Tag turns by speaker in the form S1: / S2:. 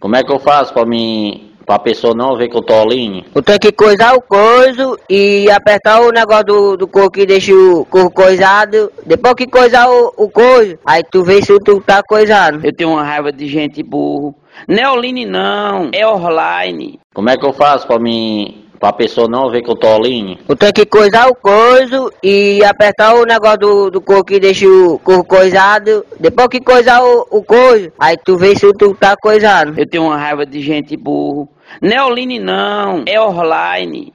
S1: Como é que eu faço pra mim. pra pessoa não ver que eu tô online?
S2: Tu tem que coisar o coiso e apertar o negócio do, do coco que deixa o coco coisado. Depois que coisar o, o coiso, aí tu vê se tu tá coisado.
S3: Eu tenho uma raiva de gente burro. Não é online não, é online.
S1: Como é que eu faço pra mim. pra pessoa não ver que eu tô online?
S2: Tu tem que coisar o coiso e apertar o negócio do, do coco que deixa o coco coisado. Depois que coisar o, o coiso, aí tu vê se tu tá coisado.
S3: Eu tenho uma raiva de gente burro. Não é online não, é online.